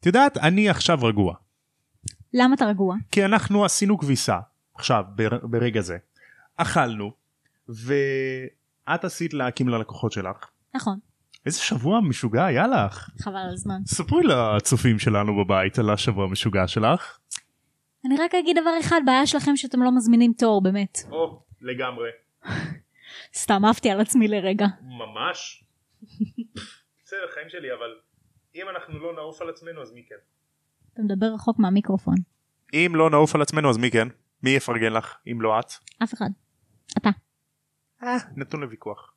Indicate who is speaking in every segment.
Speaker 1: את יודעת, אני עכשיו רגוע.
Speaker 2: למה אתה רגוע?
Speaker 1: כי אנחנו עשינו כביסה, עכשיו, בר, ברגע זה. אכלנו, ואת עשית להקים ללקוחות שלך.
Speaker 2: נכון,
Speaker 1: איזה שבוע משוגע היה לך?
Speaker 2: חבל על הזמן.
Speaker 1: ספרי לצופים שלנו בבית על השבוע המשוגע שלך.
Speaker 2: אני רק אגיד דבר אחד, בעיה שלכם שאתם לא מזמינים תור, באמת.
Speaker 1: או, לגמרי.
Speaker 2: סתם עפתי על עצמי לרגע.
Speaker 1: ממש? בסדר, חיים שלי, אבל אם אנחנו לא נעוף על עצמנו אז מי כן?
Speaker 2: אתה מדבר רחוק מהמיקרופון.
Speaker 1: אם לא נעוף על עצמנו אז מי כן? מי יפרגן לך אם לא את?
Speaker 2: אף אחד. אתה.
Speaker 1: נתון לוויכוח.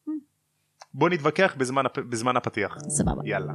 Speaker 1: בוא נתווכח בזמן, הפ... בזמן הפתיח.
Speaker 2: סבבה.
Speaker 1: יאללה.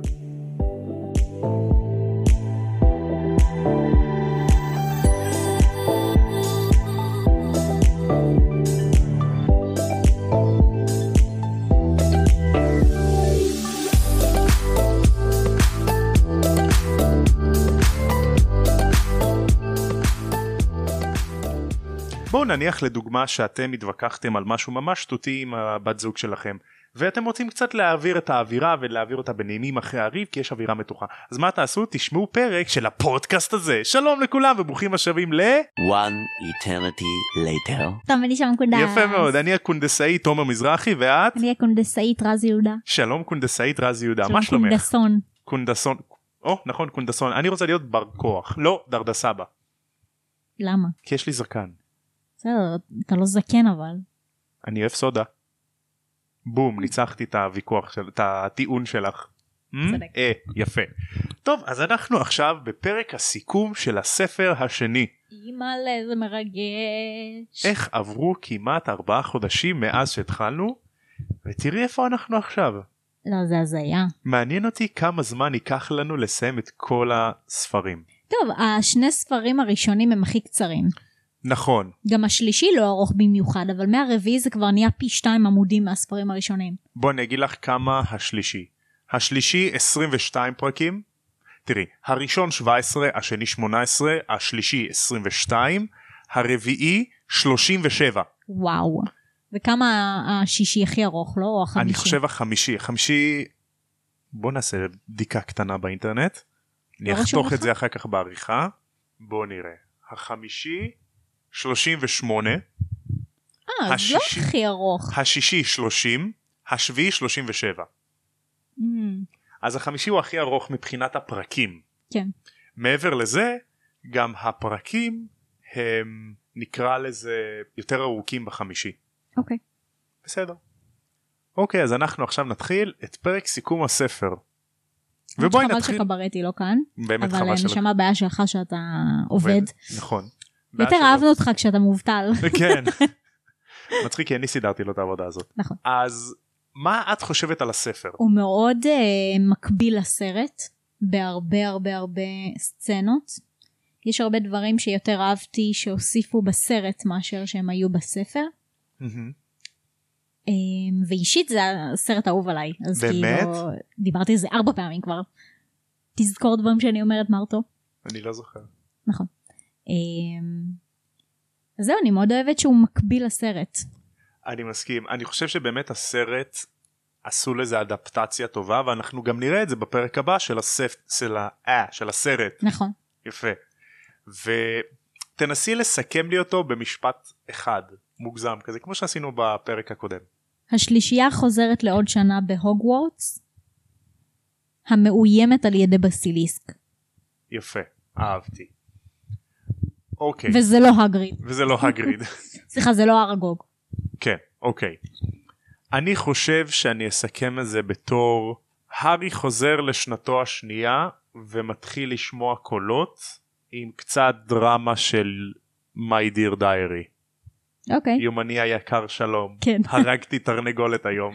Speaker 1: בואו נניח לדוגמה שאתם התווכחתם על משהו ממש שטותי עם הבת זוג שלכם ואתם רוצים קצת להעביר את האווירה ולהעביר אותה בנעימים אחרי הריב כי יש אווירה מתוחה אז מה תעשו? תשמעו פרק של הפודקאסט הזה שלום לכולם וברוכים השבים ל...
Speaker 3: One eternity later.
Speaker 2: טוב, אני שם קונדס.
Speaker 1: יפה מאוד אני הקונדסאי תומר מזרחי ואת?
Speaker 2: אני הקונדסאית רז יהודה.
Speaker 1: שלום קונדסאית רז יהודה
Speaker 2: שלום,
Speaker 1: מה שלומך?
Speaker 2: קונדסון.
Speaker 1: קונדסון או נכון קונדסון אני רוצה להיות בר כוח לא דרדסבא
Speaker 2: למה?
Speaker 1: כי יש לי זקן
Speaker 2: בסדר, אתה לא זקן אבל.
Speaker 1: אני אוהב סודה. בום, ניצחתי את הוויכוח של... את הטיעון שלך. מ?
Speaker 2: צודק.
Speaker 1: אה, יפה. טוב, אז אנחנו עכשיו בפרק הסיכום של הספר השני.
Speaker 2: אימא'לה, זה מרגש.
Speaker 1: איך עברו כמעט ארבעה חודשים מאז שהתחלנו, ותראי איפה אנחנו עכשיו.
Speaker 2: לא, זה הזיה.
Speaker 1: מעניין אותי כמה זמן ייקח לנו לסיים את כל הספרים.
Speaker 2: טוב, השני ספרים הראשונים הם הכי קצרים.
Speaker 1: נכון,
Speaker 2: גם השלישי לא ארוך במיוחד, אבל מהרביעי זה כבר נהיה פי שתיים עמודים מהספרים הראשונים.
Speaker 1: בוא אני אגיד לך כמה השלישי. השלישי 22 פרקים. תראי, הראשון 17, השני 18, השלישי 22, הרביעי 37.
Speaker 2: וואו. וכמה ה- השישי הכי ארוך, לא? או החמישי?
Speaker 1: אני חושב החמישי. חמישי... בוא נעשה בדיקה קטנה באינטרנט. אני
Speaker 2: לא רשום
Speaker 1: אחתוך את
Speaker 2: לך?
Speaker 1: זה אחר כך בעריכה. בוא נראה. החמישי 38,
Speaker 2: אה, אז לא
Speaker 1: השישי.
Speaker 2: הכי ארוך.
Speaker 1: השישי 30, השביעי 37.
Speaker 2: אמ,
Speaker 1: אז החמישי הוא הכי ארוך מבחינת הפרקים.
Speaker 2: כן.
Speaker 1: מעבר לזה גם הפרקים הם נקרא לזה יותר ארוכים בחמישי
Speaker 2: אוקיי.
Speaker 1: בסדר. אוקיי אז אנחנו עכשיו נתחיל את פרק סיכום הספר. ובואי נתחיל
Speaker 2: חבל שחברתי לא כאן,
Speaker 1: באמת
Speaker 2: אבל
Speaker 1: חבל
Speaker 2: אה,
Speaker 1: שלא
Speaker 2: נשמה בעיה שלך שאתה עובד.
Speaker 1: נכון.
Speaker 2: יותר
Speaker 1: בעיה שלא-
Speaker 2: אהבנו אותך כשאתה מובטל.
Speaker 1: כן. מצחיק כי אני סידרתי לו את העבודה הזאת.
Speaker 2: נכון.
Speaker 1: אז מה את חושבת על הספר?
Speaker 2: הוא מאוד אה, מקביל לסרט, בהרבה הרבה הרבה סצנות. יש הרבה דברים שיותר אהבתי שהוסיפו בסרט מאשר שהם היו בספר.
Speaker 1: מהמם.
Speaker 2: אמ, ואישית זה הסרט האהוב עליי. אז
Speaker 1: באמת?
Speaker 2: כאילו, דיברתי על זה ארבע פעמים כבר. תזכור דברים שאני אומרת מרטו.
Speaker 1: אני לא זוכר.
Speaker 2: נכון. אמ, אז זהו, אני מאוד אוהבת שהוא מקביל לסרט.
Speaker 1: אני מסכים אני חושב שבאמת הסרט עשו לזה אדפטציה טובה ואנחנו גם נראה את זה בפרק הבא של הספ... של, ה... אה, של הסרט
Speaker 2: נכון.
Speaker 1: יפה ותנסי לסכם לי אותו במשפט אחד מוגזם כזה כמו שעשינו בפרק הקודם
Speaker 2: השלישייה חוזרת לעוד שנה בהוגוורטס, המאוימת על ידי בסיליסק.
Speaker 1: יפה אהבתי אוקיי וזה,
Speaker 2: וזה לא הגריד.
Speaker 1: וזה לא הגריד
Speaker 2: סליחה, זה לא ארגוג.
Speaker 1: כן אוקיי אני חושב שאני אסכם את זה בתור הארי חוזר לשנתו השנייה ומתחיל לשמוע קולות עם קצת דרמה של My Dear Diary.
Speaker 2: אוקיי.
Speaker 1: יומני היקר שלום.
Speaker 2: כן.
Speaker 1: הרגתי תרנגולת היום.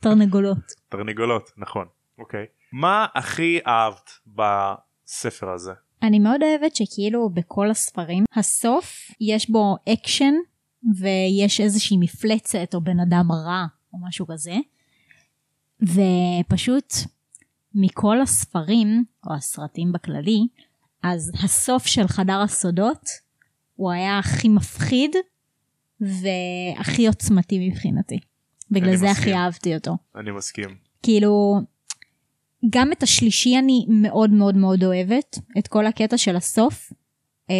Speaker 2: תרנגולות.
Speaker 1: תרנגולות, נכון. אוקיי. מה הכי אהבת בספר הזה?
Speaker 2: אני מאוד אוהבת שכאילו בכל הספרים הסוף יש בו אקשן ויש איזושהי מפלצת או בן אדם רע או משהו כזה ופשוט מכל הספרים או הסרטים בכללי אז הסוף של חדר הסודות הוא היה הכי מפחיד והכי עוצמתי מבחינתי בגלל
Speaker 1: אני
Speaker 2: זה
Speaker 1: מסכים.
Speaker 2: הכי אהבתי אותו
Speaker 1: אני מסכים.
Speaker 2: כאילו גם את השלישי אני מאוד מאוד מאוד אוהבת, את כל הקטע של הסוף. אה,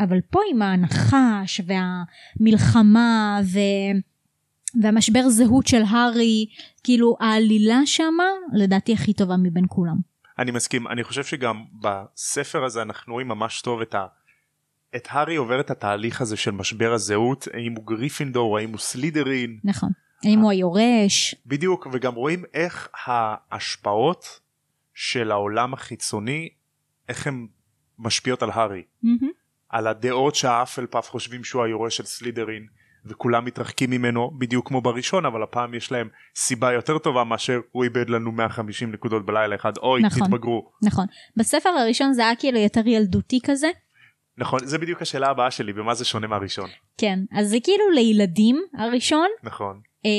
Speaker 2: אבל פה עם הנחש והמלחמה ו... והמשבר זהות של הארי, כאילו העלילה שמה לדעתי הכי טובה מבין כולם.
Speaker 1: אני מסכים אני חושב שגם בספר הזה אנחנו רואים ממש טוב את ה... את הארי עובר את התהליך הזה של משבר הזהות האם הוא גריפינדור האם הוא סלידרין
Speaker 2: נכון. האם הוא היורש?
Speaker 1: בדיוק וגם רואים איך ההשפעות של העולם החיצוני איך הן משפיעות על הארי
Speaker 2: מהמם.
Speaker 1: על הדעות שהאפלפאף חושבים שהוא היורש של סלידרין וכולם מתרחקים ממנו בדיוק כמו בראשון אבל הפעם יש להם סיבה יותר טובה מאשר הוא איבד לנו 150 נקודות בלילה אחד אוי
Speaker 2: נכון.
Speaker 1: תתבגרו
Speaker 2: נכון. בספר הראשון זה היה כאילו יותר ילדותי כזה.
Speaker 1: נכון זה בדיוק השאלה הבאה שלי במה זה שונה מהראשון
Speaker 2: כן. אז זה כאילו לילדים הראשון,
Speaker 1: נכון
Speaker 2: אה,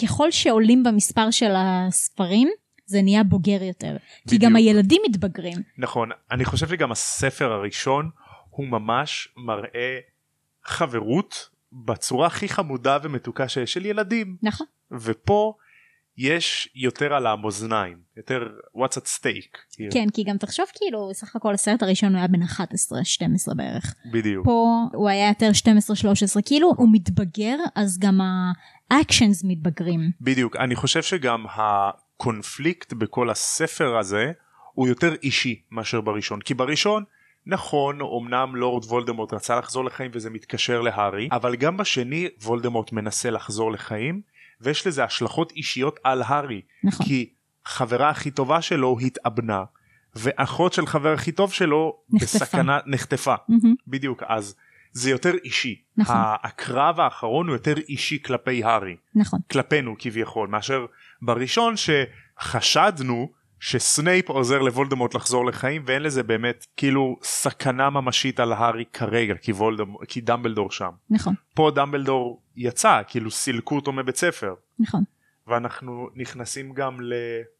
Speaker 2: וככל שעולים במספר של הספרים, זה נהיה בוגר יותר. כי
Speaker 1: בדיוק.
Speaker 2: גם הילדים מתבגרים.
Speaker 1: נכון אני חושב שגם הספר הראשון הוא ממש מראה חברות בצורה הכי חמודה ומתוקה שיש של ילדים
Speaker 2: נכון.
Speaker 1: ופה יש יותר על המאזניים יותר what's at stake
Speaker 2: כן, כי גם תחשוב כאילו, סך הכל הסרט הראשון הוא היה בן 11-12 בערך.
Speaker 1: בדיוק
Speaker 2: פה הוא היה יותר 12-13, כאילו הוא מתבגר, אז גם האקשנס מתבגרים.
Speaker 1: בדיוק אני חושב שגם הקונפליקט בכל הספר הזה הוא יותר אישי מאשר בראשון כי בראשון נכון אמנם לורד וולדמורט רצה לחזור לחיים וזה מתקשר להארי אבל גם בשני וולדמורט מנסה לחזור לחיים ויש לזה השלכות אישיות על הארי
Speaker 2: נכון.
Speaker 1: כי חברה הכי טובה שלו התאבנה ואחות של חבר הכי טוב שלו
Speaker 2: נחטפה.
Speaker 1: בסכנה נחטפה
Speaker 2: מהמם.
Speaker 1: בדיוק אז זה יותר אישי
Speaker 2: נכון.
Speaker 1: הקרב האחרון הוא יותר אישי כלפי הארי
Speaker 2: נכון.
Speaker 1: כלפינו כביכול מאשר בראשון שחשדנו שסנייפ עוזר לוולדמורט לחזור לחיים ואין לזה באמת כאילו סכנה ממשית על הארי כרגע כי, וולדמורט, כי דמבלדור שם.
Speaker 2: נכון.
Speaker 1: פה דמבלדור יצא כאילו סילקו אותו מבית ספר
Speaker 2: נכון.
Speaker 1: ואנחנו נכנסים גם ל...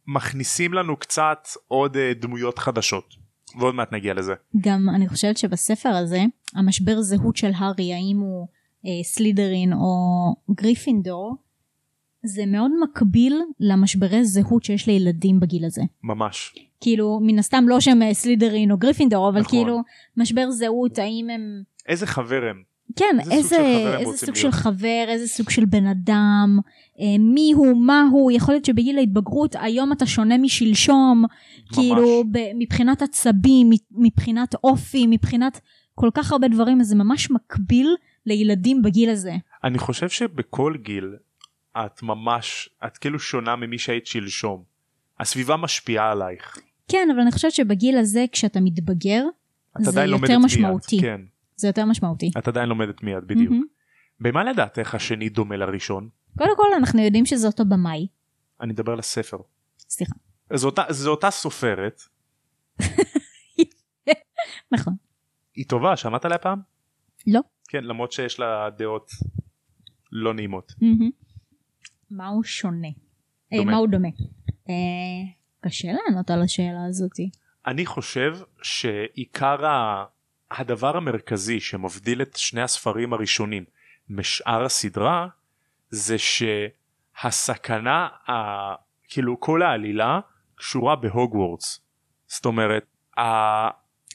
Speaker 1: מכניסים לנו קצת עוד אה, דמויות חדשות ועוד מעט נגיע לזה.
Speaker 2: גם אני חושבת שבספר הזה, המשבר זהות של הארי, האם הוא אה, סלידרין או גריפינדור, זה מאוד מקביל למשברי זהות שיש לילדים בגיל הזה.
Speaker 1: ממש.
Speaker 2: כאילו, מן הסתם לא שהם אה, סלידרין או גריפינדור, אבל
Speaker 1: נכון.
Speaker 2: נכון. כאילו, משבר זהות, האם הם...
Speaker 1: איזה חבר הם?
Speaker 2: כן,
Speaker 1: איזה סוג של
Speaker 2: איזה,
Speaker 1: חבר הם
Speaker 2: איזה
Speaker 1: רוצים
Speaker 2: סוג
Speaker 1: להיות?
Speaker 2: של חבר, איזה סוג של בן אדם, אה, מי הוא, מה הוא, יכול להיות שבגיל ההתבגרות היום אתה שונה משלשום,
Speaker 1: ממש.
Speaker 2: כאילו ב- מבחינת עצבים, מ- מבחינת אופי, מבחינת כל כך הרבה דברים, אז זה ממש מקביל לילדים בגיל הזה.
Speaker 1: אני חושב שבכל גיל את ממש את כאילו שונה ממי שהיית שלשום. הסביבה משפיעה עלייך.
Speaker 2: כן, אבל אני חושבת שבגיל הזה כשאתה מתבגר,
Speaker 1: את
Speaker 2: זה
Speaker 1: עדיין
Speaker 2: יותר
Speaker 1: לומדת מי את,
Speaker 2: משמעותי.
Speaker 1: כן,
Speaker 2: זה יותר משמעותי.
Speaker 1: את עדיין לומדת מיד בדיוק.
Speaker 2: מהמם.
Speaker 1: במה לדעתך השני דומה לראשון?
Speaker 2: קודם כל אנחנו יודעים שזה אותו במאי,
Speaker 1: אני מדבר לספר.
Speaker 2: סליחה,
Speaker 1: זו אותה, זו אותה סופרת,
Speaker 2: נכון.
Speaker 1: היא טובה, שמעת עליה פעם?
Speaker 2: לא.
Speaker 1: כן, למרות שיש לה דעות לא נעימות.
Speaker 2: מהמם. מה הוא שונה? אה,
Speaker 1: דומה.
Speaker 2: מה הוא דומה? אה, קשה לענות על השאלה הזאתי.
Speaker 1: אני חושב שעיקר ה... הדבר המרכזי שמבדיל את שני הספרים הראשונים משאר הסדרה זה שהסכנה ה... כאילו כל העלילה קשורה בהוגוורטס זאת אומרת ה...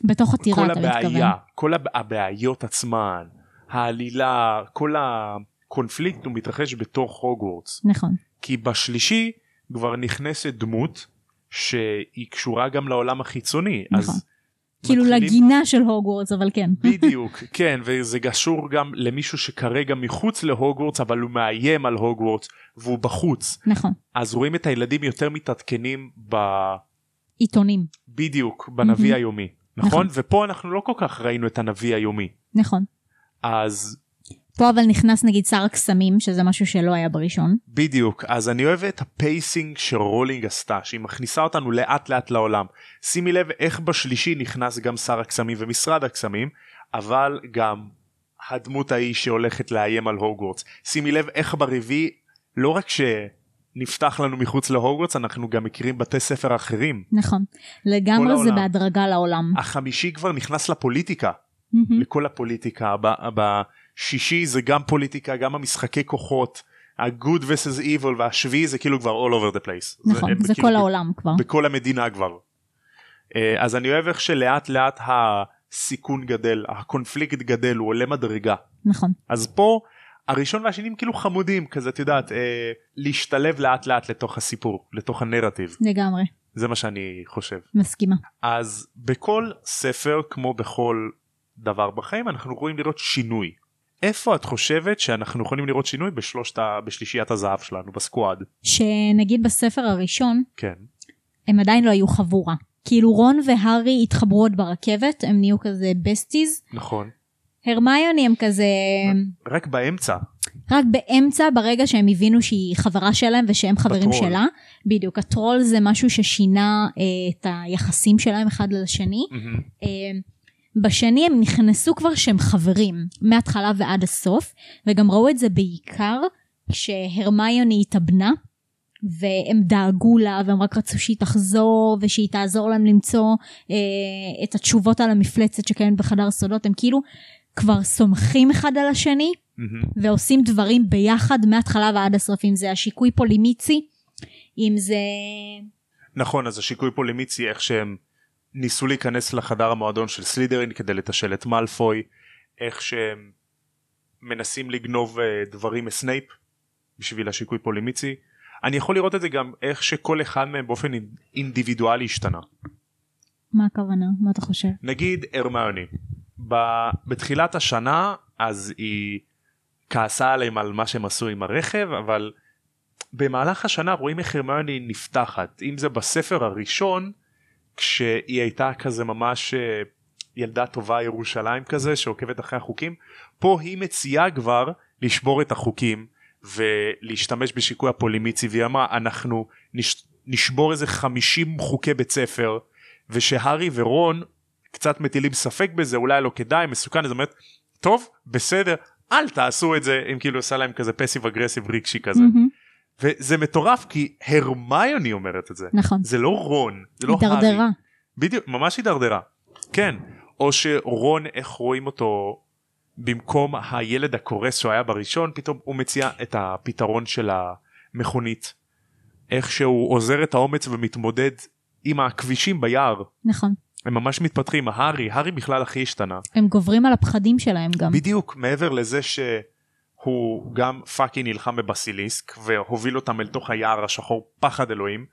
Speaker 2: בתוך עתירה
Speaker 1: כל
Speaker 2: אתה לא מתכוון.
Speaker 1: הבעיה כל הב... הבעיות עצמן העלילה כל הקונפליקט הוא מתרחש בתוך הוגוורטס
Speaker 2: נכון,
Speaker 1: כי בשלישי כבר נכנסת דמות שהיא קשורה גם לעולם החיצוני
Speaker 2: נכון.
Speaker 1: אז
Speaker 2: כאילו
Speaker 1: מתחילים-
Speaker 2: לגינה של הוגוורטס אבל כן.
Speaker 1: בדיוק כן וזה קשור גם למישהו שכרגע מחוץ להוגוורטס אבל הוא מאיים על הוגוורטס והוא בחוץ
Speaker 2: נכון,
Speaker 1: אז רואים את הילדים יותר מתעדכנים ב...
Speaker 2: עיתונים,
Speaker 1: בדיוק בנביא
Speaker 2: מהמם.
Speaker 1: היומי נכון
Speaker 2: נכון.
Speaker 1: ופה אנחנו לא כל כך ראינו את הנביא היומי
Speaker 2: נכון.
Speaker 1: אז
Speaker 2: פה אבל נכנס נגיד שר הקסמים, שזה משהו שלא היה בראשון.
Speaker 1: בדיוק אז אני אוהב את הפייסינג שרולינג עשתה שהיא מכניסה אותנו לאט לאט לעולם שימי לב איך בשלישי נכנס גם שר הקסמים ומשרד הקסמים אבל גם הדמות ההיא שהולכת לאיים על הוגוורטס שימי לב איך ברביעי לא רק שנפתח לנו מחוץ להוגוורטס אנחנו גם מכירים בתי ספר אחרים
Speaker 2: נכון. לגמרי זה
Speaker 1: העולם.
Speaker 2: בהדרגה לעולם.
Speaker 1: החמישי כבר נכנס לפוליטיקה
Speaker 2: מהמם.
Speaker 1: לכל הפוליטיקה ב- בשישי זה גם פוליטיקה גם המשחקי כוחות ה-good versus evil והשביעי זה כאילו כבר all over the place.
Speaker 2: נכון,
Speaker 1: הם
Speaker 2: זה
Speaker 1: כאילו
Speaker 2: כל העולם כבר.
Speaker 1: בכל המדינה כבר. אה, אז אני אוהב איך שלאט לאט הסיכון גדל, הקונפליקט גדל, הוא עולה מדרגה.
Speaker 2: נכון.
Speaker 1: אז פה הראשון והשני הם כאילו חמודים כזה את יודעת אה, להשתלב לאט לאט לתוך הסיפור לתוך הנרטיב
Speaker 2: לגמרי,
Speaker 1: זה מה שאני חושב
Speaker 2: מסכימה.
Speaker 1: אז בכל ספר כמו בכל דבר בחיים אנחנו יכולים לראות שינוי. איפה את חושבת שאנחנו יכולים לראות שינוי בשלושת ה... בשלישיית הזהב שלנו בסקואד?
Speaker 2: שנגיד בספר הראשון,
Speaker 1: כן.
Speaker 2: הם עדיין לא היו חבורה. כאילו רון והארי התחברו עוד ברכבת, הם נהיו כזה בסטיז.
Speaker 1: נכון.
Speaker 2: הרמיוני הם כזה,
Speaker 1: רק באמצע.
Speaker 2: רק באמצע, ברגע שהם הבינו שהיא חברה שלהם ושהם חברים
Speaker 1: בטרול.
Speaker 2: שלה. בדיוק, הטרול זה משהו ששינה אה, את היחסים שלהם אחד לשני. אה, בשני הם נכנסו כבר שהם חברים, מההתחלה ועד הסוף, וגם ראו את זה בעיקר כשהרמיוני התאבנה, והם דאגו לה, והם רק רצו שהיא תחזור, ושהיא תעזור להם למצוא אה, את התשובות על המפלצת שקיימת בחדר הסודות, הם כאילו כבר סומכים אחד על השני,
Speaker 1: מהמם.
Speaker 2: ועושים דברים ביחד מההתחלה ועד הסוף, אם זה השיקוי פולימיצי, אם זה...
Speaker 1: נכון אז השיקוי פה למיצי איך שהם ניסו להיכנס לחדר המועדון של סלידרין כדי לתשל את מאלפוי איך שהם מנסים לגנוב אה, דברים מסנייפ בשביל השיקוי פה למיצי אני יכול לראות את זה גם איך שכל אחד מהם באופן אינ- אינדיבידואלי השתנה
Speaker 2: מה הכוונה? מה אתה חושב?
Speaker 1: נגיד הרמיוני ב... בתחילת השנה אז היא כעסה עליהם על מה שהם עשו עם הרכב אבל במהלך השנה רואים איך הרמיוני נפתחת אם זה בספר הראשון כשהיא הייתה כזה ממש אה, ילדה טובה ירושלים כזה שעוקבת אחרי החוקים פה היא מציעה כבר לשבור את החוקים ולהשתמש בשיקוי הפולימיצי והיא אמרה אנחנו נש... נשבור איזה 50 חוקי בית ספר ושהארי ורון קצת מטילים ספק בזה אולי לא כדאי מסוכן אז אומרת טוב בסדר אל תעשו את זה אם כאילו עושה להם כזה פסיב אגרסיב רגשי כזה
Speaker 2: מהמם.
Speaker 1: וזה מטורף כי הרמיוני אומרת את זה
Speaker 2: נכון.
Speaker 1: זה לא רון זה לא הארי
Speaker 2: הידרדרה.
Speaker 1: בדיוק ממש הידרדרה כן או שרון איך רואים אותו במקום הילד הקורס שהוא היה בראשון פתאום הוא מציע את הפתרון של המכונית איך שהוא עוזר את האומץ ומתמודד עם הכבישים ביער
Speaker 2: נכון.
Speaker 1: הם ממש מתפתחים הארי הארי בכלל הכי השתנה
Speaker 2: הם גוברים על הפחדים שלהם גם.
Speaker 1: בדיוק מעבר לזה שהוא גם פאקינג נלחם בבסיליסק והוביל אותם אל תוך היער השחור פחד אלוהים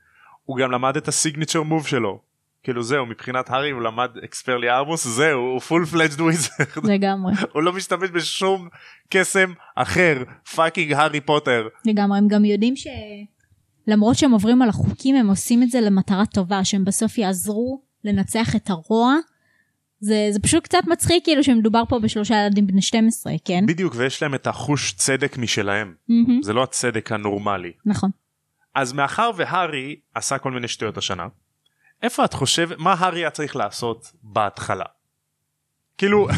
Speaker 1: הוא גם למד את הסיגניצ'ר מוב שלו כאילו זהו מבחינת הארי הוא למד אקספרלי ארמוס זהו הוא פול פלג'ד וויזרד
Speaker 2: לגמרי,
Speaker 1: הוא לא משתמש בשום קסם אחר פאקינג הארי פוטר
Speaker 2: לגמרי. הם גם יודעים ש... למרות שהם עוברים על החוקים, הם עושים את זה למטרה טובה, שהם בסוף יעזרו לנצח את הרוע. זה, זה פשוט קצת מצחיק כאילו שמדובר פה בשלושה ילדים בני 12, כן?
Speaker 1: בדיוק ויש להם את החוש צדק משלהם
Speaker 2: מהמם.
Speaker 1: זה לא הצדק הנורמלי
Speaker 2: נכון.
Speaker 1: אז מאחר והארי עשה כל מיני שטויות השנה, איפה את חושבת, מה הארי היה צריך לעשות בהתחלה? כאילו,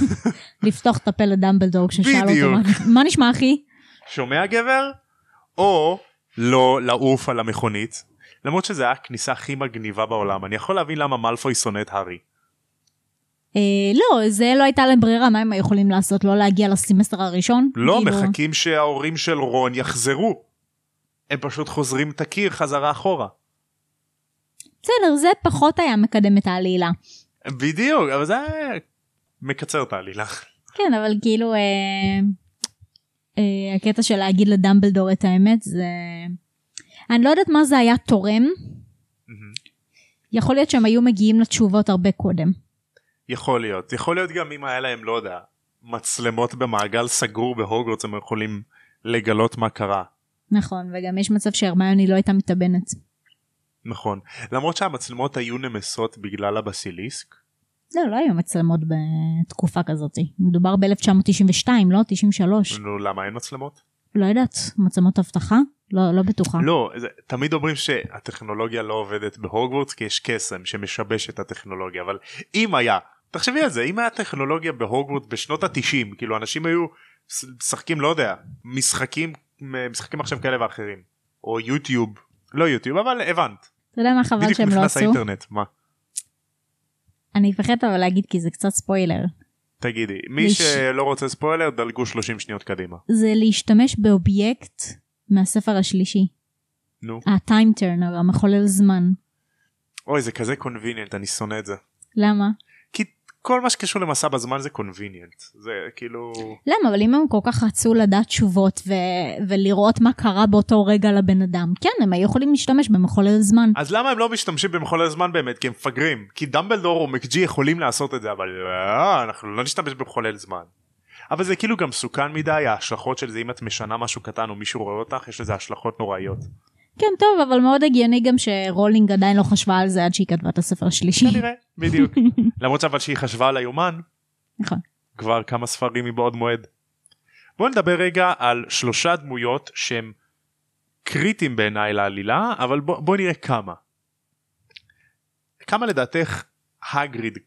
Speaker 2: לפתוח את הפה לדמבלדור כששאל אותו
Speaker 1: בדיוק.
Speaker 2: מה- מה נשמע אחי?
Speaker 1: שומע גבר? או לא לעוף על המכונית, למרות שזה היה הכניסה הכי מגניבה בעולם, אני יכול להבין למה מאלפוי שונא את הארי.
Speaker 2: אה, לא, זה לא הייתה להם ברירה, מה הם יכולים לעשות? לא להגיע לסמסטר הראשון?
Speaker 1: לא,
Speaker 2: כאילו,
Speaker 1: מחכים שההורים של רון יחזרו. הם פשוט חוזרים את הקיר חזרה אחורה.
Speaker 2: בסדר, זה פחות היה מקדם את העלילה.
Speaker 1: בדיוק, אבל זה היה מקצר את העלילה.
Speaker 2: כן, אבל כאילו אה, אה, הקטע של להגיד לדמבלדור את האמת זה... אני לא יודעת מה זה היה תורם, יכול להיות שהם היו מגיעים לתשובות הרבה קודם.
Speaker 1: יכול להיות יכול להיות גם אם היה להם לא יודע מצלמות במעגל סגור בהוגוורטס הם יכולים לגלות מה קרה
Speaker 2: נכון, וגם יש מצב שהרמיוני לא הייתה מתאבנת.
Speaker 1: נכון למרות שהמצלמות היו נמסות בגלל הבסיליסק
Speaker 2: לא, לא היו מצלמות בתקופה כזאת. מדובר ב-1992, לא? 93.
Speaker 1: נו כאילו, למה אין מצלמות
Speaker 2: לא יודעת, מצלמות אבטחה? לא, לא בטוחה.
Speaker 1: לא זה, תמיד אומרים שהטכנולוגיה לא עובדת בהוגוורטס כי יש קסם שמשבש את הטכנולוגיה אבל אם היה תחשבי על זה אם היה טכנולוגיה בהוגוורטס בשנות התשעים כאילו אנשים היו ס- משחקים לא יודע משחקים משחקים עכשיו כאלה ואחרים או יוטיוב לא יוטיוב אבל הבנת.
Speaker 2: אתה יודע מה חבל
Speaker 1: בדיוק
Speaker 2: שהם לא
Speaker 1: נכנס
Speaker 2: עשו?
Speaker 1: האינטרנט מה
Speaker 2: אני מפחדת אבל להגיד כי זה קצת ספוילר.
Speaker 1: תגידי מי
Speaker 2: יש-
Speaker 1: שלא רוצה ספוילר דלגו 30 שניות קדימה
Speaker 2: זה להשתמש באובייקט מהספר השלישי.
Speaker 1: נו.
Speaker 2: ה-time turner, המחולל זמן.
Speaker 1: אוי, זה כזה קונביניאנט, אני שונא את זה.
Speaker 2: למה?
Speaker 1: כי כל מה שקשור למסע בזמן זה קונביניאנט. זה כאילו...
Speaker 2: למה? אבל אם הם כל כך רצו לדעת תשובות ו- ולראות מה קרה באותו רגע לבן אדם, כן, הם היו יכולים להשתמש במחולל זמן.
Speaker 1: אז למה הם לא משתמשים במחולל זמן באמת? כי הם מפגרים. כי דמבלדור או מקג'י יכולים לעשות את זה, אבל לא, אנחנו לא נשתמש במחולל זמן. אבל זה כאילו גם מסוכן מדי, ההשלכות של זה, אם את משנה משהו קטן או מישהו רואה אותך, יש לזה השלכות נוראיות.
Speaker 2: כן, טוב, אבל מאוד הגיוני גם שרולינג עדיין לא חשבה על זה עד שהיא כתבה את הספר השלישי.
Speaker 1: כנראה, בדיוק. למרות שאבל שהיא חשבה על היומן,
Speaker 2: נכון.
Speaker 1: כבר כמה ספרים מבעוד מועד. בואו נדבר רגע על שלושה דמויות שהם קריטיים בעיניי לעלילה, אבל בואו בוא נראה כמה. כמה לדעתך הגריד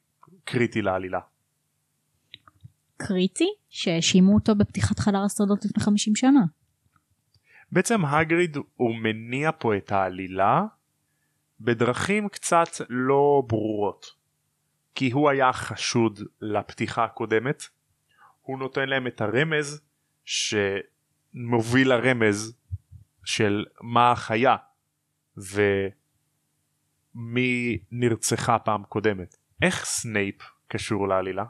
Speaker 1: קריטי לעלילה?
Speaker 2: קריטי, שהאשימו אותו בפתיחת חדר הסודות לפני 50 שנה.
Speaker 1: בעצם הגריד הוא מניע פה את העלילה בדרכים קצת לא ברורות. כי הוא היה חשוד לפתיחה הקודמת, הוא נותן להם את הרמז שמוביל לרמז של מה החיה ומי נרצחה פעם קודמת. איך סנייפ קשור לעלילה?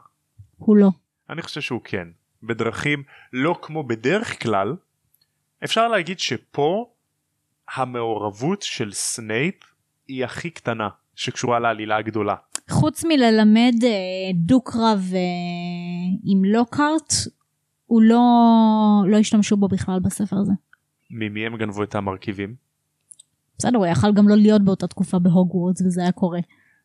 Speaker 2: הוא לא.
Speaker 1: אני חושב שהוא כן בדרכים לא כמו בדרך כלל אפשר להגיד שפה המעורבות של סנייפ היא הכי קטנה שקשורה לעלילה הגדולה
Speaker 2: חוץ מללמד אה, דו-קרב אה, עם לוקארט, הוא לא, לא השתמשו בו בכלל בספר הזה.
Speaker 1: ממי הם גנבו את המרכיבים
Speaker 2: בסדר, הוא יכל גם לא להיות באותה תקופה בהוגוורטס וזה היה קורה.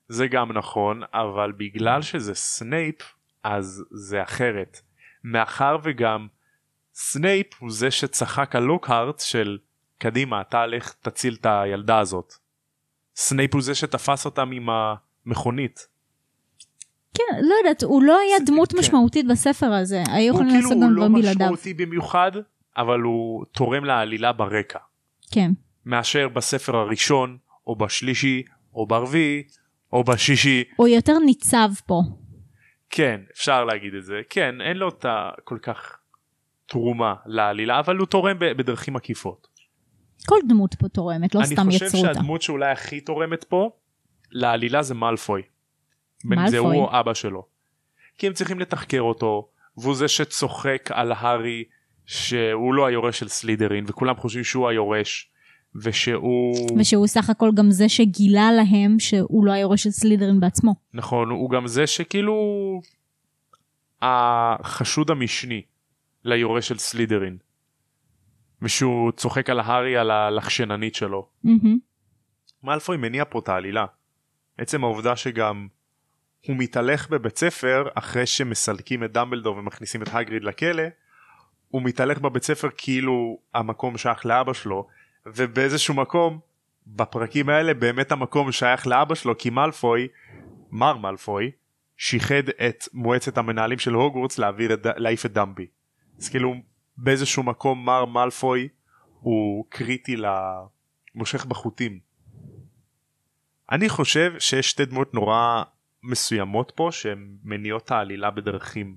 Speaker 1: זה גם נכון אבל בגלל שזה סנייפ אז זה אחרת מאחר וגם סנייפ הוא זה שצחק על לוקהרט של קדימה אתה לך תציל את הילדה הזאת סנייפ הוא זה שתפס אותם עם המכונית
Speaker 2: כן, לא יודעת, הוא לא היה
Speaker 1: זה-
Speaker 2: דמות
Speaker 1: כן.
Speaker 2: משמעותית בספר הזה. היו יכולים לעשות גם דברים
Speaker 1: הוא כאילו הוא לא
Speaker 2: בלעדיו.
Speaker 1: משמעותי במיוחד, אבל הוא תורם לעלילה ברקע.
Speaker 2: כן.
Speaker 1: מאשר בספר הראשון, או בשלישי, או ברביעי, או בשישי.
Speaker 2: הוא יותר ניצב פה.
Speaker 1: כן, אפשר להגיד את זה. כן, אין לו את ה... כל כך תרומה לעלילה, אבל הוא תורם ב- בדרכים עקיפות.
Speaker 2: כל דמות פה תורמת, לא
Speaker 1: אני
Speaker 2: סתם
Speaker 1: חושב
Speaker 2: יצרו אותה.
Speaker 1: שהדמות שאולי הכי תורמת פה, לעלילה זה מאלפוי. בין זה
Speaker 2: מאלפוי.
Speaker 1: הוא או אבא שלו. כי הם צריכים לתחקר אותו, והוא זה שצוחק על הארי שהוא לא היורש של סלידרין, וכולם חושבים שהוא היורש, ושהוא...
Speaker 2: ושהוא סך הכל גם זה שגילה להם שהוא לא היורש של סלידרין בעצמו.
Speaker 1: נכון, הוא גם זה שכאילו... החשוד המשני ליורש של סלידרין. ושהוא צוחק על הארי על הלחשננית שלו.
Speaker 2: מהמם.
Speaker 1: מאלפוי מניע פה את העלילה. עצם העובדה שגם הוא מתהלך בבית ספר אחרי שמסלקים את דמבלדור ומכניסים את הגריד לכלא, הוא מתהלך בבית ספר כאילו המקום שייך לאבא שלו, ובאיזשהו מקום בפרקים האלה באמת המקום שייך לאבא שלו כי מאלפוי, מר מאלפוי, שיחד את מועצת המנהלים של הוגוורטס להעביר את, ד- להעיף את דמבי. אז כאילו באיזשהו מקום מר מאלפוי הוא קריטי למושך בחוטים. אני חושב שיש שתי דמות נורא מסוימות פה שהן מניעות את העלילה בדרכים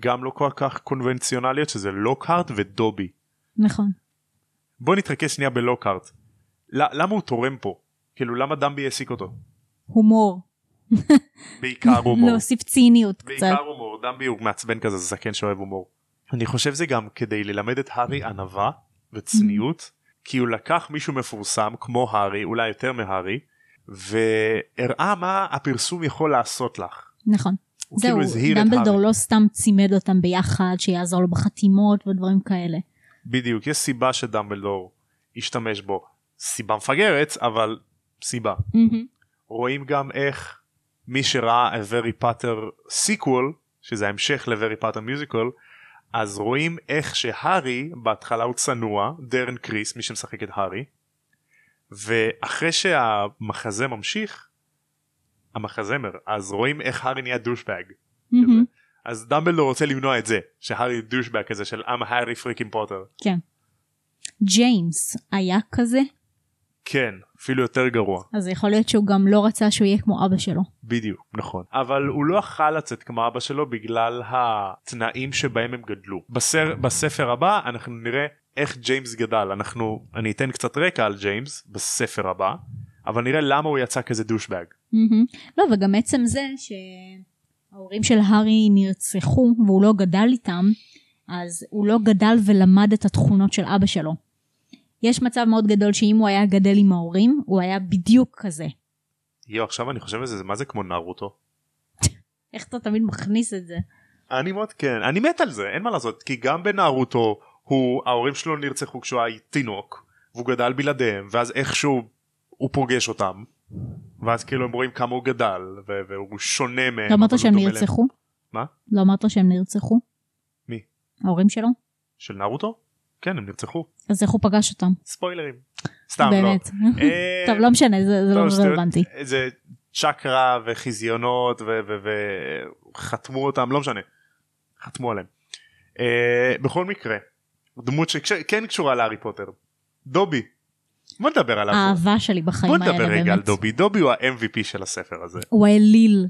Speaker 1: גם לא כל כך קונבנציונליות שזה לוקהרט ודובי.
Speaker 2: נכון.
Speaker 1: בוא נתרכז שנייה בלוקהרט. ל- למה הוא תורם פה? כאילו למה דמבי העסיק אותו?
Speaker 2: הומור.
Speaker 1: בעיקר הומור.
Speaker 2: להוסיף ציניות קצת.
Speaker 1: בעיקר הומור. דמבי הוא מעצבן כזה זקן שאוהב הומור. אני חושב זה גם כדי ללמד את הארי ענווה וצניעות
Speaker 2: Mm-hmm.
Speaker 1: כי הוא לקח מישהו מפורסם כמו הארי אולי יותר מהארי והראה מה הפרסום יכול לעשות לך.
Speaker 2: נכון.
Speaker 1: הוא
Speaker 2: זהו,
Speaker 1: כאילו הזהיר את הארי.
Speaker 2: דמבלדור לא סתם צימד אותם ביחד, שיעזור לו בחתימות ודברים כאלה.
Speaker 1: בדיוק, יש סיבה שדמבלדור השתמש בו. סיבה מפגרת, אבל סיבה. רואים גם איך מי שראה A Very Potter sequel, שזה ההמשך ל-Very Potter musical, אז רואים איך שהארי, בהתחלה הוא צנוע, דרן קריס, מי שמשחק את הארי, ואחרי שהמחזה ממשיך, המחזמר, אז רואים איך הארי נהיה דושבג. כזה.
Speaker 2: מהמם.
Speaker 1: אז דמבלדור רוצה למנוע את זה, שהארי דושבג כזה של I'm הארי פריקינג פוטר.
Speaker 2: כן. ג'יימס היה כזה,
Speaker 1: כן, אפילו יותר גרוע.
Speaker 2: אז יכול להיות שהוא גם לא רצה שהוא יהיה כמו אבא שלו.
Speaker 1: בדיוק, נכון. אבל הוא לא יכל לצאת כמו אבא שלו בגלל התנאים שבהם הם גדלו. בסר, בספר הבא אנחנו נראה איך ג'יימס גדל אנחנו אני אתן קצת רקע על ג'יימס בספר הבא אבל נראה למה הוא יצא כזה דושבג
Speaker 2: מהמם. לא, וגם עצם זה שההורים של הארי נרצחו והוא לא גדל איתם, אז הוא לא גדל ולמד את התכונות של אבא שלו. יש מצב מאוד גדול שאם הוא היה גדל עם ההורים, הוא היה בדיוק כזה.
Speaker 1: יו עכשיו אני חושב על זה זה מה זה כמו נרוטו
Speaker 2: איך אתה תמיד מכניס את זה?
Speaker 1: אני מאוד כן אני מת על זה אין מה לעשות כי גם בנרוטו הוא ההורים שלו נרצחו כשהוא היה תינוק והוא גדל בלעדיהם ואז איכשהו הוא פוגש אותם ואז כאילו הם רואים כמה הוא גדל ו- והוא שונה מהם.
Speaker 2: לא אמרת
Speaker 1: אבל הוא
Speaker 2: שהם
Speaker 1: דומה להם.
Speaker 2: נרצחו?
Speaker 1: מה?
Speaker 2: לא אמרת שהם נרצחו?
Speaker 1: מי?
Speaker 2: ההורים שלו?
Speaker 1: של נרוטו? כן הם נרצחו
Speaker 2: אז איך הוא פגש אותם?
Speaker 1: ספוילרים. סתם לא.
Speaker 2: באמת.
Speaker 1: אה,
Speaker 2: טוב, לא משנה, זה זה לא
Speaker 1: טוב, שטויות.
Speaker 2: רלוונטי.
Speaker 1: איזה צ'קרה וחזיונות וחתמו אותם לא משנה חתמו עליהם. אה, בכל מקרה דמות שכן קשורה להארי פוטר דובי. בוא נדבר עליו.
Speaker 2: האהבה שלי בחיים
Speaker 1: בוא
Speaker 2: אה, האלה, באמת.
Speaker 1: נדבר רגע על דובי דובי הוא ה-MVP של הספר הזה
Speaker 2: הוא האליל.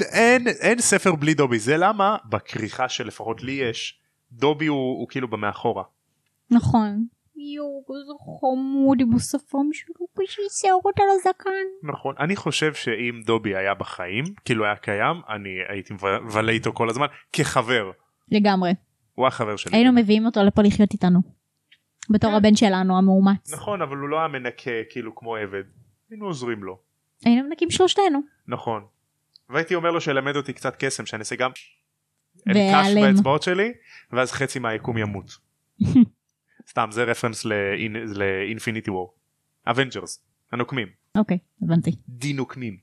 Speaker 1: אין אין ספר בלי דובי זה למה בכריכה שלפחות לי יש דובי הוא, הוא כאילו במאחורה
Speaker 2: נכון. יואו, איזה חמוד עם השפם שלו, בשביל שערות על הזקן.
Speaker 1: נכון אני חושב שאם דובי היה בחיים כאילו היה קיים אני הייתי מבלה איתו כל הזמן כחבר
Speaker 2: לגמרי.
Speaker 1: הוא החבר שלי.
Speaker 2: היינו מביאים אותו לפה לחיות איתנו. בתור
Speaker 1: כן.
Speaker 2: הבן שלנו המאומץ.
Speaker 1: נכון אבל הוא לא היה מנקה כאילו כמו עבד. היינו עוזרים לו.
Speaker 2: היינו מנקים שלושתנו.
Speaker 1: נכון. והייתי אומר לו שילמד אותי קצת קסם שאני אעשה גם אלקש
Speaker 2: והיעלם.
Speaker 1: באצבעות שלי ואז חצי מהיקום ימות. סתם זה רפרנס לאינ- לאינפיניטי וור. אבנג'רס. הנוקמים.
Speaker 2: אוקיי, הבנתי.
Speaker 1: דינוקמים.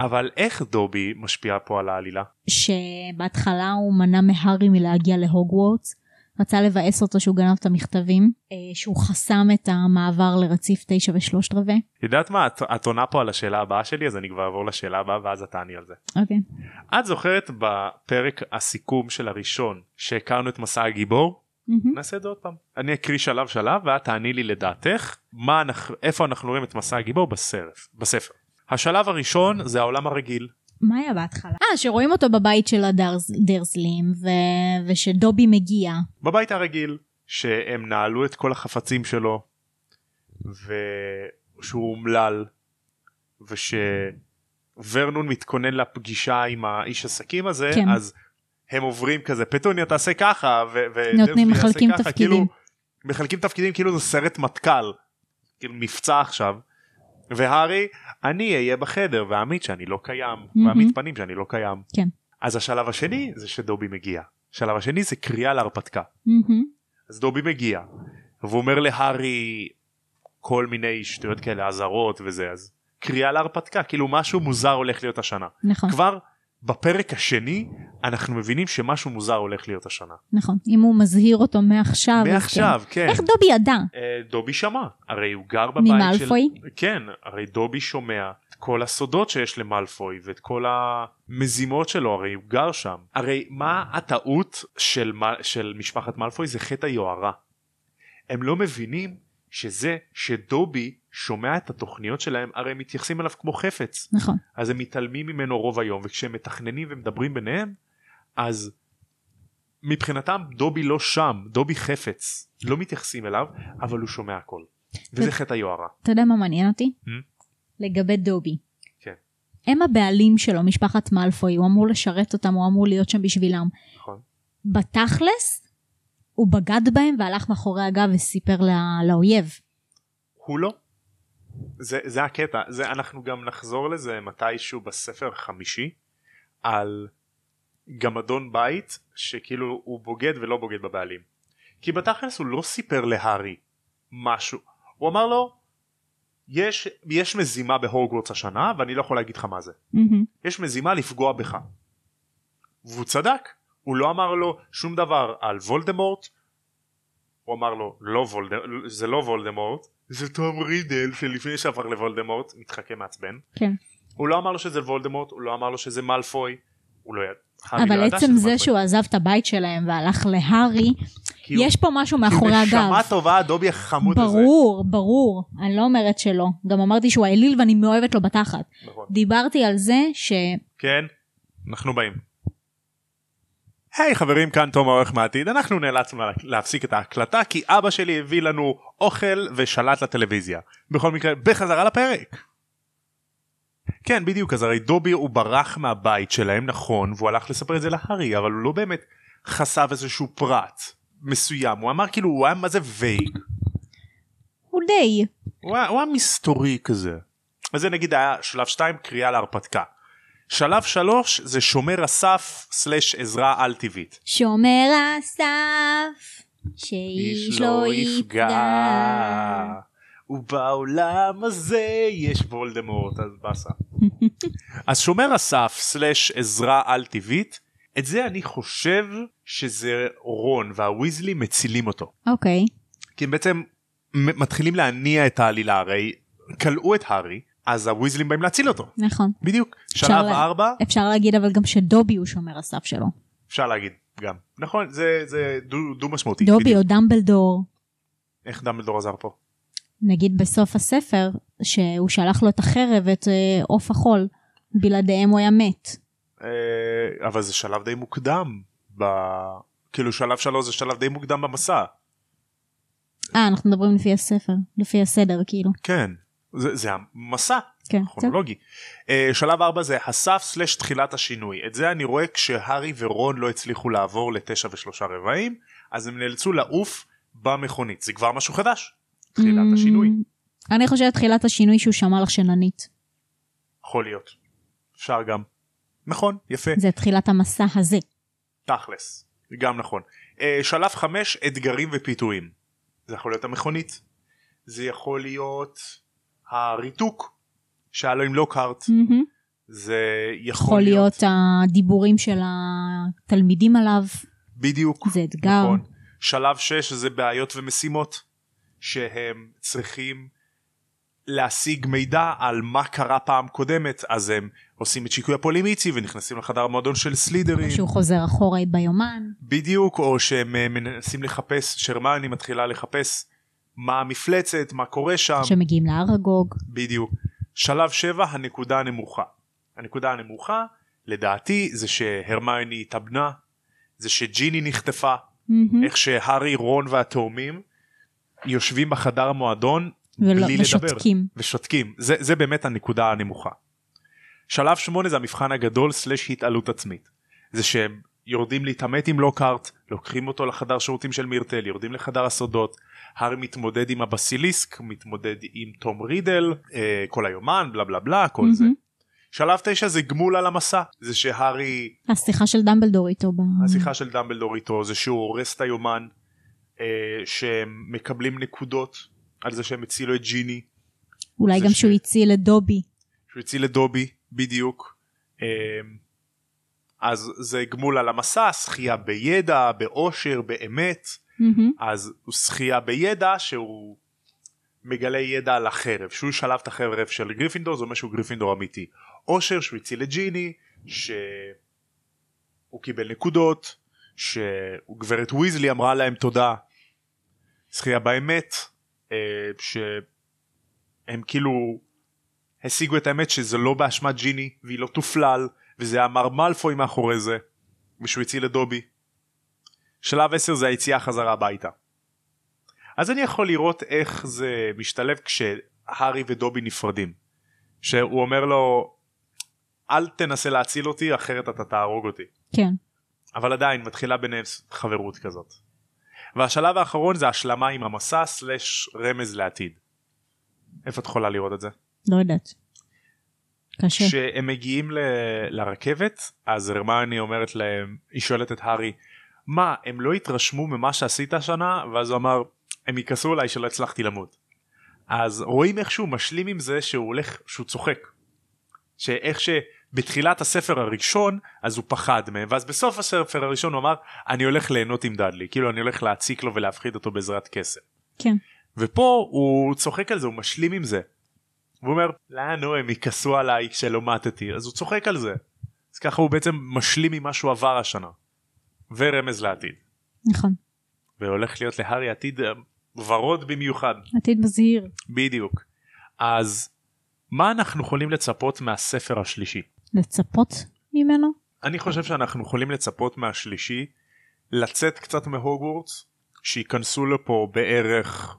Speaker 1: אבל איך דובי משפיע פה על העלילה?
Speaker 2: שבהתחלה הוא מנע מהארי מלהגיע להוגוורטס. רצה לבאס אותו שהוא גנב את המכתבים, אה, שהוא חסם את המעבר לרציף תשע ושלושת רבעי.
Speaker 1: יודעת מה את, את עונה פה על השאלה הבאה שלי אז אני כבר אעבור לשאלה הבאה ואז את תעני על זה.
Speaker 2: אוקיי.
Speaker 1: את זוכרת בפרק הסיכום של הראשון שהכרנו את מסע הגיבור?
Speaker 2: מהמם.
Speaker 1: נעשה את זה עוד פעם. אני אקריא שלב שלב ואת תעני לי לדעתך מה אנחנו, איפה אנחנו רואים את מסע הגיבור בסרף, בספר. השלב הראשון זה העולם הרגיל.
Speaker 2: מה היה בהתחלה? אה, שרואים אותו בבית של הדרזלים, ו- ושדובי מגיע.
Speaker 1: בבית הרגיל שהם נעלו את כל החפצים שלו ושהוא אומלל ושוורנון מתכונן לפגישה עם האיש עסקים הזה
Speaker 2: כן.
Speaker 1: כן. אז הם עוברים כזה פטוניה תעשה ככה ו- ו-
Speaker 2: נותנים,
Speaker 1: דרסלי יעשה
Speaker 2: מחלקים
Speaker 1: ככה",
Speaker 2: תפקידים.
Speaker 1: כאילו, מחלקים תפקידים כאילו זה סרט מטכ"ל כאילו מבצע עכשיו והארי אני אהיה בחדר ואעמיד שאני לא קיים
Speaker 2: מהמם.
Speaker 1: ואעמיד פנים שאני לא קיים
Speaker 2: כן.
Speaker 1: אז השלב השני זה שדובי מגיע השלב השני זה קריאה להרפתקה
Speaker 2: מהמם.
Speaker 1: אז דובי מגיע והוא אומר להארי כל מיני שטויות כאלה אזהרות וזה אז קריאה להרפתקה כאילו משהו מוזר הולך להיות השנה
Speaker 2: נכון,
Speaker 1: כבר בפרק השני אנחנו מבינים שמשהו מוזר הולך להיות השנה
Speaker 2: נכון. אם הוא מזהיר אותו מעכשיו. אז
Speaker 1: מעכשיו כן
Speaker 2: כן. איך דובי ידע?
Speaker 1: אה, דובי שמע הרי הוא גר בבית של
Speaker 2: ממאלפוי?
Speaker 1: כן הרי דובי שומע את כל הסודות שיש למלפוי ואת כל המזימות שלו הרי הוא גר שם הרי מה הטעות של, מ- של משפחת מלפוי זה חטא היוהרה הם לא מבינים שזה שדובי שומע את התוכניות שלהם הרי הם מתייחסים אליו כמו חפץ
Speaker 2: נכון.
Speaker 1: אז הם מתעלמים ממנו רוב היום וכשהם מתכננים ומדברים ביניהם אז מבחינתם דובי לא שם דובי חפץ לא מתייחסים אליו אבל הוא שומע הכל וזה חטא היוהרה
Speaker 2: אתה יודע מה מעניין אותי?
Speaker 1: Hmm?
Speaker 2: לגבי דובי.
Speaker 1: כן.
Speaker 2: הם הבעלים שלו, משפחת מאלפוי, הוא אמור לשרת אותם, הוא אמור להיות שם בשבילם.
Speaker 1: נכון
Speaker 2: בתכלס, הוא בגד בהם והלך מאחורי הגב וסיפר לא- לאויב.
Speaker 1: הוא לא זה, זה הקטע זה אנחנו גם נחזור לזה מתישהו בספר חמישי על גם אדון בית שכאילו הוא בוגד ולא בוגד בבעלים כי בתכלס הוא לא סיפר להארי משהו הוא אמר לו יש, יש מזימה בהוגוורטס השנה ואני לא יכול להגיד לך מה זה
Speaker 2: מהמם.
Speaker 1: יש מזימה לפגוע בך. והוא צדק, הוא לא אמר לו שום דבר על וולדמורט, הוא אמר לו לא וולדמורט, זה לא וולדמורט, זה תום רידל שלפני שהפך לוולדמורט, מתחכה מעצבן,
Speaker 2: כן.
Speaker 1: הוא לא אמר לו שזה וולדמורט, הוא לא אמר לו שזה מאלפוי, הוא לא ידע. הארי לא
Speaker 2: אבל
Speaker 1: ידע
Speaker 2: עצם
Speaker 1: שזה
Speaker 2: זה
Speaker 1: מאלפוי.
Speaker 2: שהוא עזב את הבית שלהם והלך להארי,
Speaker 1: כי הוא-
Speaker 2: יש פה משהו
Speaker 1: כי הוא
Speaker 2: מאחורי
Speaker 1: נשמה
Speaker 2: הגב.
Speaker 1: טובה הדובי החמוד הזה.
Speaker 2: ברור, ברור. אני לא אומרת שלא. גם אמרתי שהוא האליל ואני מאוהבת לו בתחת.
Speaker 1: נכון.
Speaker 2: דיברתי על זה ש...
Speaker 1: כן, אנחנו באים. היי חברים כאן תום העורך מהעתיד אנחנו נאלצנו לה- להפסיק את ההקלטה כי אבא שלי הביא לנו אוכל ושלט לטלוויזיה בכל מקרה בחזרה לפרק. כן בדיוק אז הרי דובי הוא ברח מהבית שלהם נכון והוא הלך לספר את זה להארי אבל הוא לא באמת חשף איזשהו פרט מסוים הוא אמר כאילו הוא היה מה זה וייג
Speaker 2: הוא די.
Speaker 1: הוא היה, הוא היה מסתורי כזה. אז זה נגיד היה שלב 2 קריאה להרפתקה. שלב 3 זה שומר הסף סלאש עזרה על טבעית.
Speaker 2: שומר הסף, שאיש לא יפגע.
Speaker 1: ובעולם הזה יש וולדמורט אז באסה. אז שומר הסף סלאש עזרה על טבעית את זה אני חושב שזה רון והוויזלי מצילים אותו.
Speaker 2: אוקיי,
Speaker 1: כי הם בעצם מ- מתחילים להניע את העלילה הרי כלאו את הארי אז הוויזלים באים להציל אותו.
Speaker 2: נכון.
Speaker 1: בדיוק.
Speaker 2: אפשר
Speaker 1: שלב
Speaker 2: לה-
Speaker 1: 4
Speaker 2: אפשר להגיד אבל גם שדובי הוא שומר הסף שלו.
Speaker 1: אפשר להגיד גם נכון זה זה דו, דו משמעותי.
Speaker 2: דובי
Speaker 1: בדיוק.
Speaker 2: או דמבלדור,
Speaker 1: איך דמבלדור עזר פה?
Speaker 2: נגיד בסוף הספר, שהוא שלח לו את החרב ואת אה, עוף החול, בלעדיהם הוא היה מת.
Speaker 1: אה, אבל זה שלב די מוקדם ב... כאילו שלב שלוש זה שלב די מוקדם במסע
Speaker 2: אה, אנחנו מדברים לפי הספר, לפי הסדר כאילו.
Speaker 1: כן זה, זה המסע
Speaker 2: כן, זהו.
Speaker 1: הכרונולוגי. אה, שלב ארבע זה הסף סלש תחילת השינוי את זה אני רואה כשהארי ורון לא הצליחו לעבור לתשע ושלושה רבעים אז הם נאלצו לעוף במכונית זה כבר משהו חדש. תחילת
Speaker 2: Mm,
Speaker 1: השינוי
Speaker 2: אני חושבת תחילת השינוי שהוא שמע לך שננית.
Speaker 1: יכול להיות אפשר גם נכון יפה
Speaker 2: זה תחילת המסע הזה.
Speaker 1: תכלס, גם נכון. אה, שלב חמש, אתגרים ופיתויים. זה יכול להיות המכונית, זה יכול להיות הריתוק שהיה לו עם לוקהארט,
Speaker 2: מהמם.
Speaker 1: זה
Speaker 2: Mm. יכול להיות הדיבורים של התלמידים עליו,
Speaker 1: בדיוק,
Speaker 2: זה אתגר.
Speaker 1: נכון. שלב שש זה בעיות ומשימות שהם צריכים להשיג מידע על מה קרה פעם קודמת אז הם עושים את שיקוי הפולימיצי ונכנסים לחדר המועדון של סלידרים.
Speaker 2: או שהוא חוזר אחורה ביומן.
Speaker 1: בדיוק או שהם אה, מנסים לחפש שרמני מתחילה לחפש מה המפלצת מה קורה שם ש...
Speaker 2: שמגיעים לארגוג.
Speaker 1: בדיוק שלב 7 הנקודה הנמוכה הנקודה הנמוכה לדעתי זה שהרמני התאבנה זה שג'יני נחטפה
Speaker 2: מהמם.
Speaker 1: איך שהארי רון והתאומים יושבים בחדר המועדון
Speaker 2: ולא-
Speaker 1: בלי
Speaker 2: ושותקים.
Speaker 1: לדבר ושותקים זה, זה באמת הנקודה הנמוכה. שלב 8 זה המבחן הגדול סלש התעלות עצמית זה שהם יורדים להתעמת עם לוקהארט לוקחים אותו לחדר שירותים של מירטל יורדים לחדר הסודות הארי מתמודד עם הבסיליסק מתמודד עם תום רידל אה, כל היומן בלה בלה בלה כל זה.
Speaker 2: מהמם.
Speaker 1: שלב 9 זה גמול על המסע זה שהארי
Speaker 2: השיחה של דמבלדור איתו. ב-
Speaker 1: השיחה של דמבלדור איתו זה שהוא הורס את היומן אה, שהם מקבלים נקודות על זה שהם הצילו את ג'יני
Speaker 2: אולי
Speaker 1: זה
Speaker 2: גם
Speaker 1: ש-
Speaker 2: שהוא הציל את דובי.
Speaker 1: שהוא הציל את דובי בדיוק אה, אז זה גמול על המסע שחייה בידע באושר באמת
Speaker 2: מהמם.
Speaker 1: אז הוא שחייה בידע שהוא מגלה ידע על החרב שהוא שלב את החרב של גריפינדור זה אומר שהוא גריפינדור אמיתי אושר שהוא הציל את ג'יני שהוא קיבל נקודות שגברת ויזלי אמרה להם תודה זכייה באמת אה, שהם כאילו השיגו את האמת שזה לא באשמת ג'יני והיא לא תופלל וזה היה מר מאלפוי מאחורי זה ושהוא הציל את דובי שלב 10 זה היציאה חזרה הביתה. אז אני יכול לראות איך זה משתלב כשהארי ודובי נפרדים. שהוא אומר לו אל תנסה להציל אותי אחרת אתה תהרוג אותי.
Speaker 2: כן.
Speaker 1: אבל עדיין מתחילה ביניהם חברות כזאת. והשלב האחרון זה השלמה עם המסע סלש רמז לעתיד. איפה את יכולה לראות את זה?
Speaker 2: לא יודעת. קשה.
Speaker 1: כשהם מגיעים ל... לרכבת אז הרמני אומרת להם היא שואלת את הארי מה הם לא התרשמו ממה שעשית השנה ואז הוא אמר הם יכעסו עליי שלא הצלחתי למות. אז רואים איך שהוא משלים עם זה שהוא הולך שהוא צוחק. שאיך שבתחילת הספר הראשון אז הוא פחד מהם ואז בסוף הספר הראשון הוא אמר אני הולך ליהנות עם דאדלי כאילו אני הולך להציק לו ולהפחיד אותו בעזרת כסף.
Speaker 2: כן.
Speaker 1: ופה הוא צוחק על זה הוא משלים עם זה. הוא אומר לנו הם יכעסו עליי כשלא מתתי אז הוא צוחק על זה. אז ככה הוא בעצם משלים ממה שהוא עבר השנה. ורמז לעתיד.
Speaker 2: נכון.
Speaker 1: והולך להיות להארי עתיד אה, ורוד במיוחד.
Speaker 2: עתיד מזהיר.
Speaker 1: בדיוק. אז מה אנחנו יכולים לצפות מהספר השלישי?
Speaker 2: לצפות ממנו?
Speaker 1: אני חושב שאנחנו יכולים לצפות מהשלישי לצאת קצת מהוגוורטס שייכנסו לפה בערך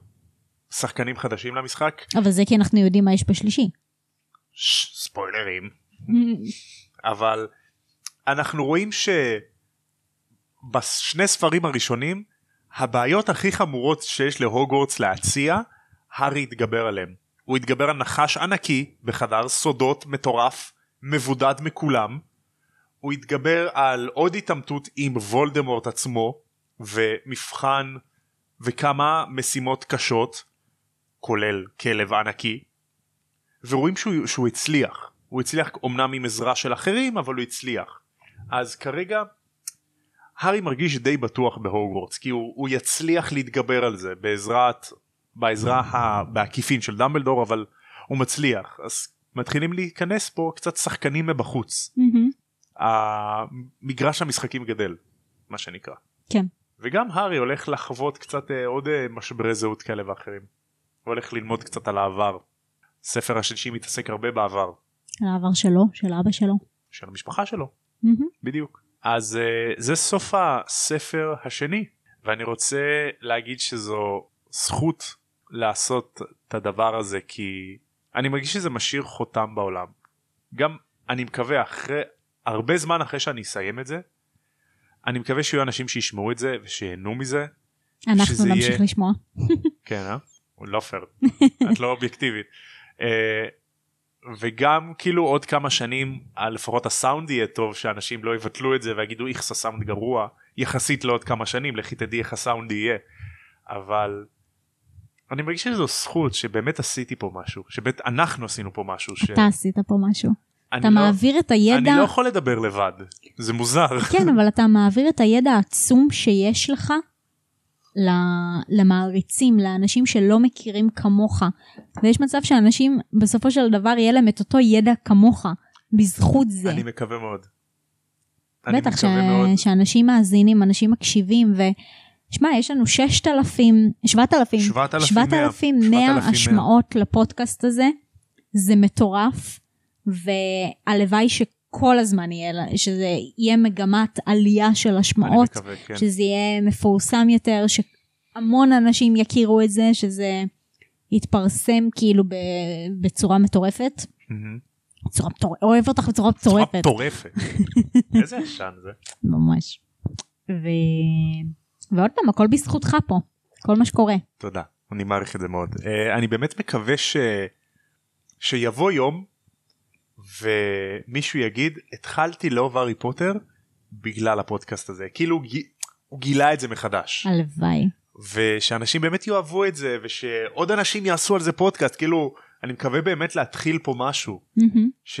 Speaker 1: שחקנים חדשים למשחק
Speaker 2: אבל זה כי אנחנו יודעים מה יש בשלישי.
Speaker 1: ש- ספוילרים אבל אנחנו רואים שבשני ספרים הראשונים הבעיות הכי חמורות שיש להוגוורטס להציע הארי התגבר עליהם הוא התגבר על נחש ענקי בחדר סודות מטורף מבודד מכולם הוא התגבר על עוד התעמתות עם וולדמורט עצמו ומבחן וכמה משימות קשות כולל כלב ענקי ורואים שהוא, שהוא הצליח הוא הצליח אמנם עם עזרה של אחרים אבל הוא הצליח אז כרגע הארי מרגיש די בטוח בהוגוורטס כי הוא, הוא יצליח להתגבר על זה בעזרת בעזרה ה- בעקיפין של דמבלדור אבל הוא מצליח אז מתחילים להיכנס פה קצת שחקנים מבחוץ
Speaker 2: מהמם.
Speaker 1: המגרש המשחקים גדל מה שנקרא
Speaker 2: כן.
Speaker 1: וגם הארי הולך לחוות קצת אה, עוד אה, משברי זהות כאלה ואחרים. הוא הולך ללמוד קצת על העבר. ספר השלישי מתעסק הרבה בעבר
Speaker 2: על העבר שלו, של אבא שלו.
Speaker 1: של המשפחה שלו
Speaker 2: מהמם.
Speaker 1: בדיוק. אז אה, זה סוף הספר השני ואני רוצה להגיד שזו זכות לעשות את הדבר הזה כי אני מרגיש שזה משאיר חותם בעולם. גם אני מקווה אחרי הרבה זמן אחרי שאני אסיים את זה אני מקווה שיהיו אנשים שישמעו את זה ושיהנו מזה שזה
Speaker 2: אנחנו
Speaker 1: יהיה-
Speaker 2: נמשיך לשמוע.
Speaker 1: כן, אה? הוא לא פייר. את לא אובייקטיבית. אה, וגם כאילו עוד כמה שנים אה, לפחות הסאונד יהיה טוב שאנשים לא יבטלו את זה ויגידו איכס הסאונד גרוע יחסית לעוד כמה שנים לכי תדעי איך הסאונד יהיה. אבל אני מרגיש שזו זכות שבאמת עשיתי פה משהו שבאמת אנחנו עשינו פה משהו
Speaker 2: אתה עשית פה משהו.
Speaker 1: שאני
Speaker 2: אתה
Speaker 1: לא-
Speaker 2: מעביר את הידע,
Speaker 1: אני לא יכול לדבר לבד זה מוזר
Speaker 2: כן, אבל אתה מעביר את הידע העצום שיש לך ל- למעריצים, לאנשים שלא מכירים כמוך. ויש מצב שאנשים בסופו של דבר יהיה להם את אותו ידע כמוך, בזכות זה.
Speaker 1: אני מקווה מאוד. אני
Speaker 2: בטח ש...
Speaker 1: מקווה מאוד.
Speaker 2: שאנשים מאזינים, אנשים מקשיבים, ו... שמע, יש לנו 6,000, 7,000,
Speaker 1: 7,100,
Speaker 2: 7,100
Speaker 1: 7,100.
Speaker 2: השמעות לפודקאסט הזה. זה מטורף, והלוואי שכל הזמן יהיה, לה- שזה יהיה מגמת עלייה של
Speaker 1: אני
Speaker 2: השמעות,
Speaker 1: מקווה, כן.
Speaker 2: שזה יהיה מפורסם יותר, שהמון אנשים יכירו את זה, שזה יתפרסם כאילו ב... בצורה מטורפת.
Speaker 1: מהמם.
Speaker 2: בצורה מטורפת, אוהב אותך בצורה
Speaker 1: צורה
Speaker 2: מטורפת.
Speaker 1: מטורפת. איזה ישן זה.
Speaker 2: ממש. ו... ועוד פעם, הכל בזכותך פה, כל מה שקורה.
Speaker 1: תודה אני מעריך את זה מאוד uh, אני באמת מקווה ש... שיבוא יום ומישהו יגיד התחלתי לאהוב הארי פוטר בגלל הפודקאסט הזה כאילו הוא ג- הוא גילה את זה מחדש
Speaker 2: הלוואי.
Speaker 1: ושאנשים באמת יאהבו את זה ושעוד אנשים יעשו על זה פודקאסט כאילו אני מקווה באמת להתחיל פה משהו
Speaker 2: מהמם.
Speaker 1: ש...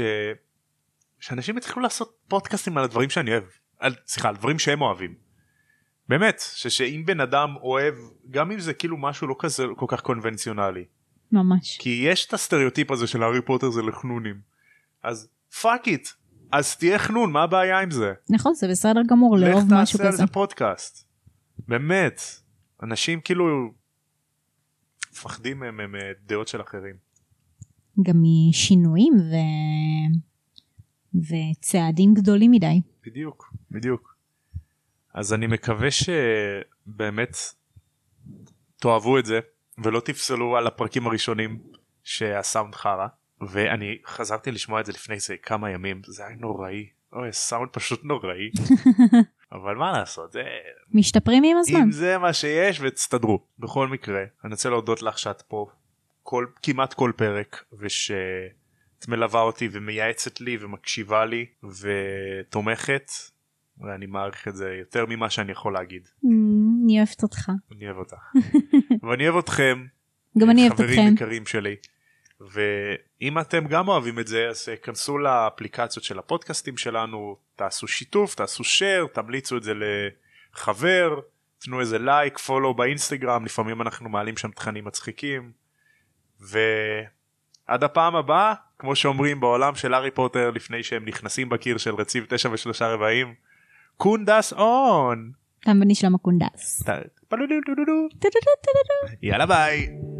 Speaker 1: שאנשים יתחילו לעשות פודקאסטים על הדברים שאני אוהב, על, סליחה, על דברים שהם אוהבים. באמת, ש... שאם בן אדם אוהב, גם אם זה כאילו משהו לא כזה כל כך קונבנציונלי,
Speaker 2: ממש.
Speaker 1: כי יש את הסטריאוטיפ הזה של הארי פוטר זה לחנונים, אז פאק איט, אז תהיה חנון, מה הבעיה עם זה?
Speaker 2: נכון, זה בסדר גמור לאהוב
Speaker 1: לך
Speaker 2: משהו
Speaker 1: תעשה על
Speaker 2: כזה.
Speaker 1: זה פודקאסט. באמת, אנשים כאילו מפחדים מהם- מהם- מדעות של אחרים.
Speaker 2: גם משינויים ו... וצעדים גדולים מדי.
Speaker 1: בדיוק, בדיוק. אז אני מקווה שבאמת תאהבו את זה ולא תפסלו על הפרקים הראשונים שהסאונד חרא ואני חזרתי לשמוע את זה לפני זה כמה ימים זה היה נוראי. אוי הסאונד פשוט נוראי אבל מה לעשות זה
Speaker 2: משתפרים עם הזמן.
Speaker 1: אם זה מה שיש ותסתדרו בכל מקרה אני רוצה להודות לך שאת פה כל כמעט כל פרק ושאת מלווה אותי ומייעצת לי ומקשיבה לי ותומכת ואני מעריך את זה יותר ממה שאני יכול להגיד
Speaker 2: אמ, אני אוהבת אותך.
Speaker 1: אני אוהב אותך ואני אוהב אתכם
Speaker 2: גם אני אוהבת
Speaker 1: חברים
Speaker 2: אתכם.
Speaker 1: יקרים שלי ואם אתם גם אוהבים את זה אז אה, כנסו לאפליקציות של הפודקאסטים שלנו תעשו שיתוף תעשו share תמליצו את זה לחבר תנו איזה לייק פולו באינסטגרם לפעמים אנחנו מעלים שם תכנים מצחיקים ועד הפעם הבאה כמו שאומרים בעולם של הארי פוטר לפני שהם נכנסים בקיר של רציב תשע ושלושה רבעים קונדס און
Speaker 2: תם בני שלמה קונדס.
Speaker 1: ת- פלולולולולו.
Speaker 2: טו-טו-טו-טו-טו.
Speaker 1: יאללה ביי.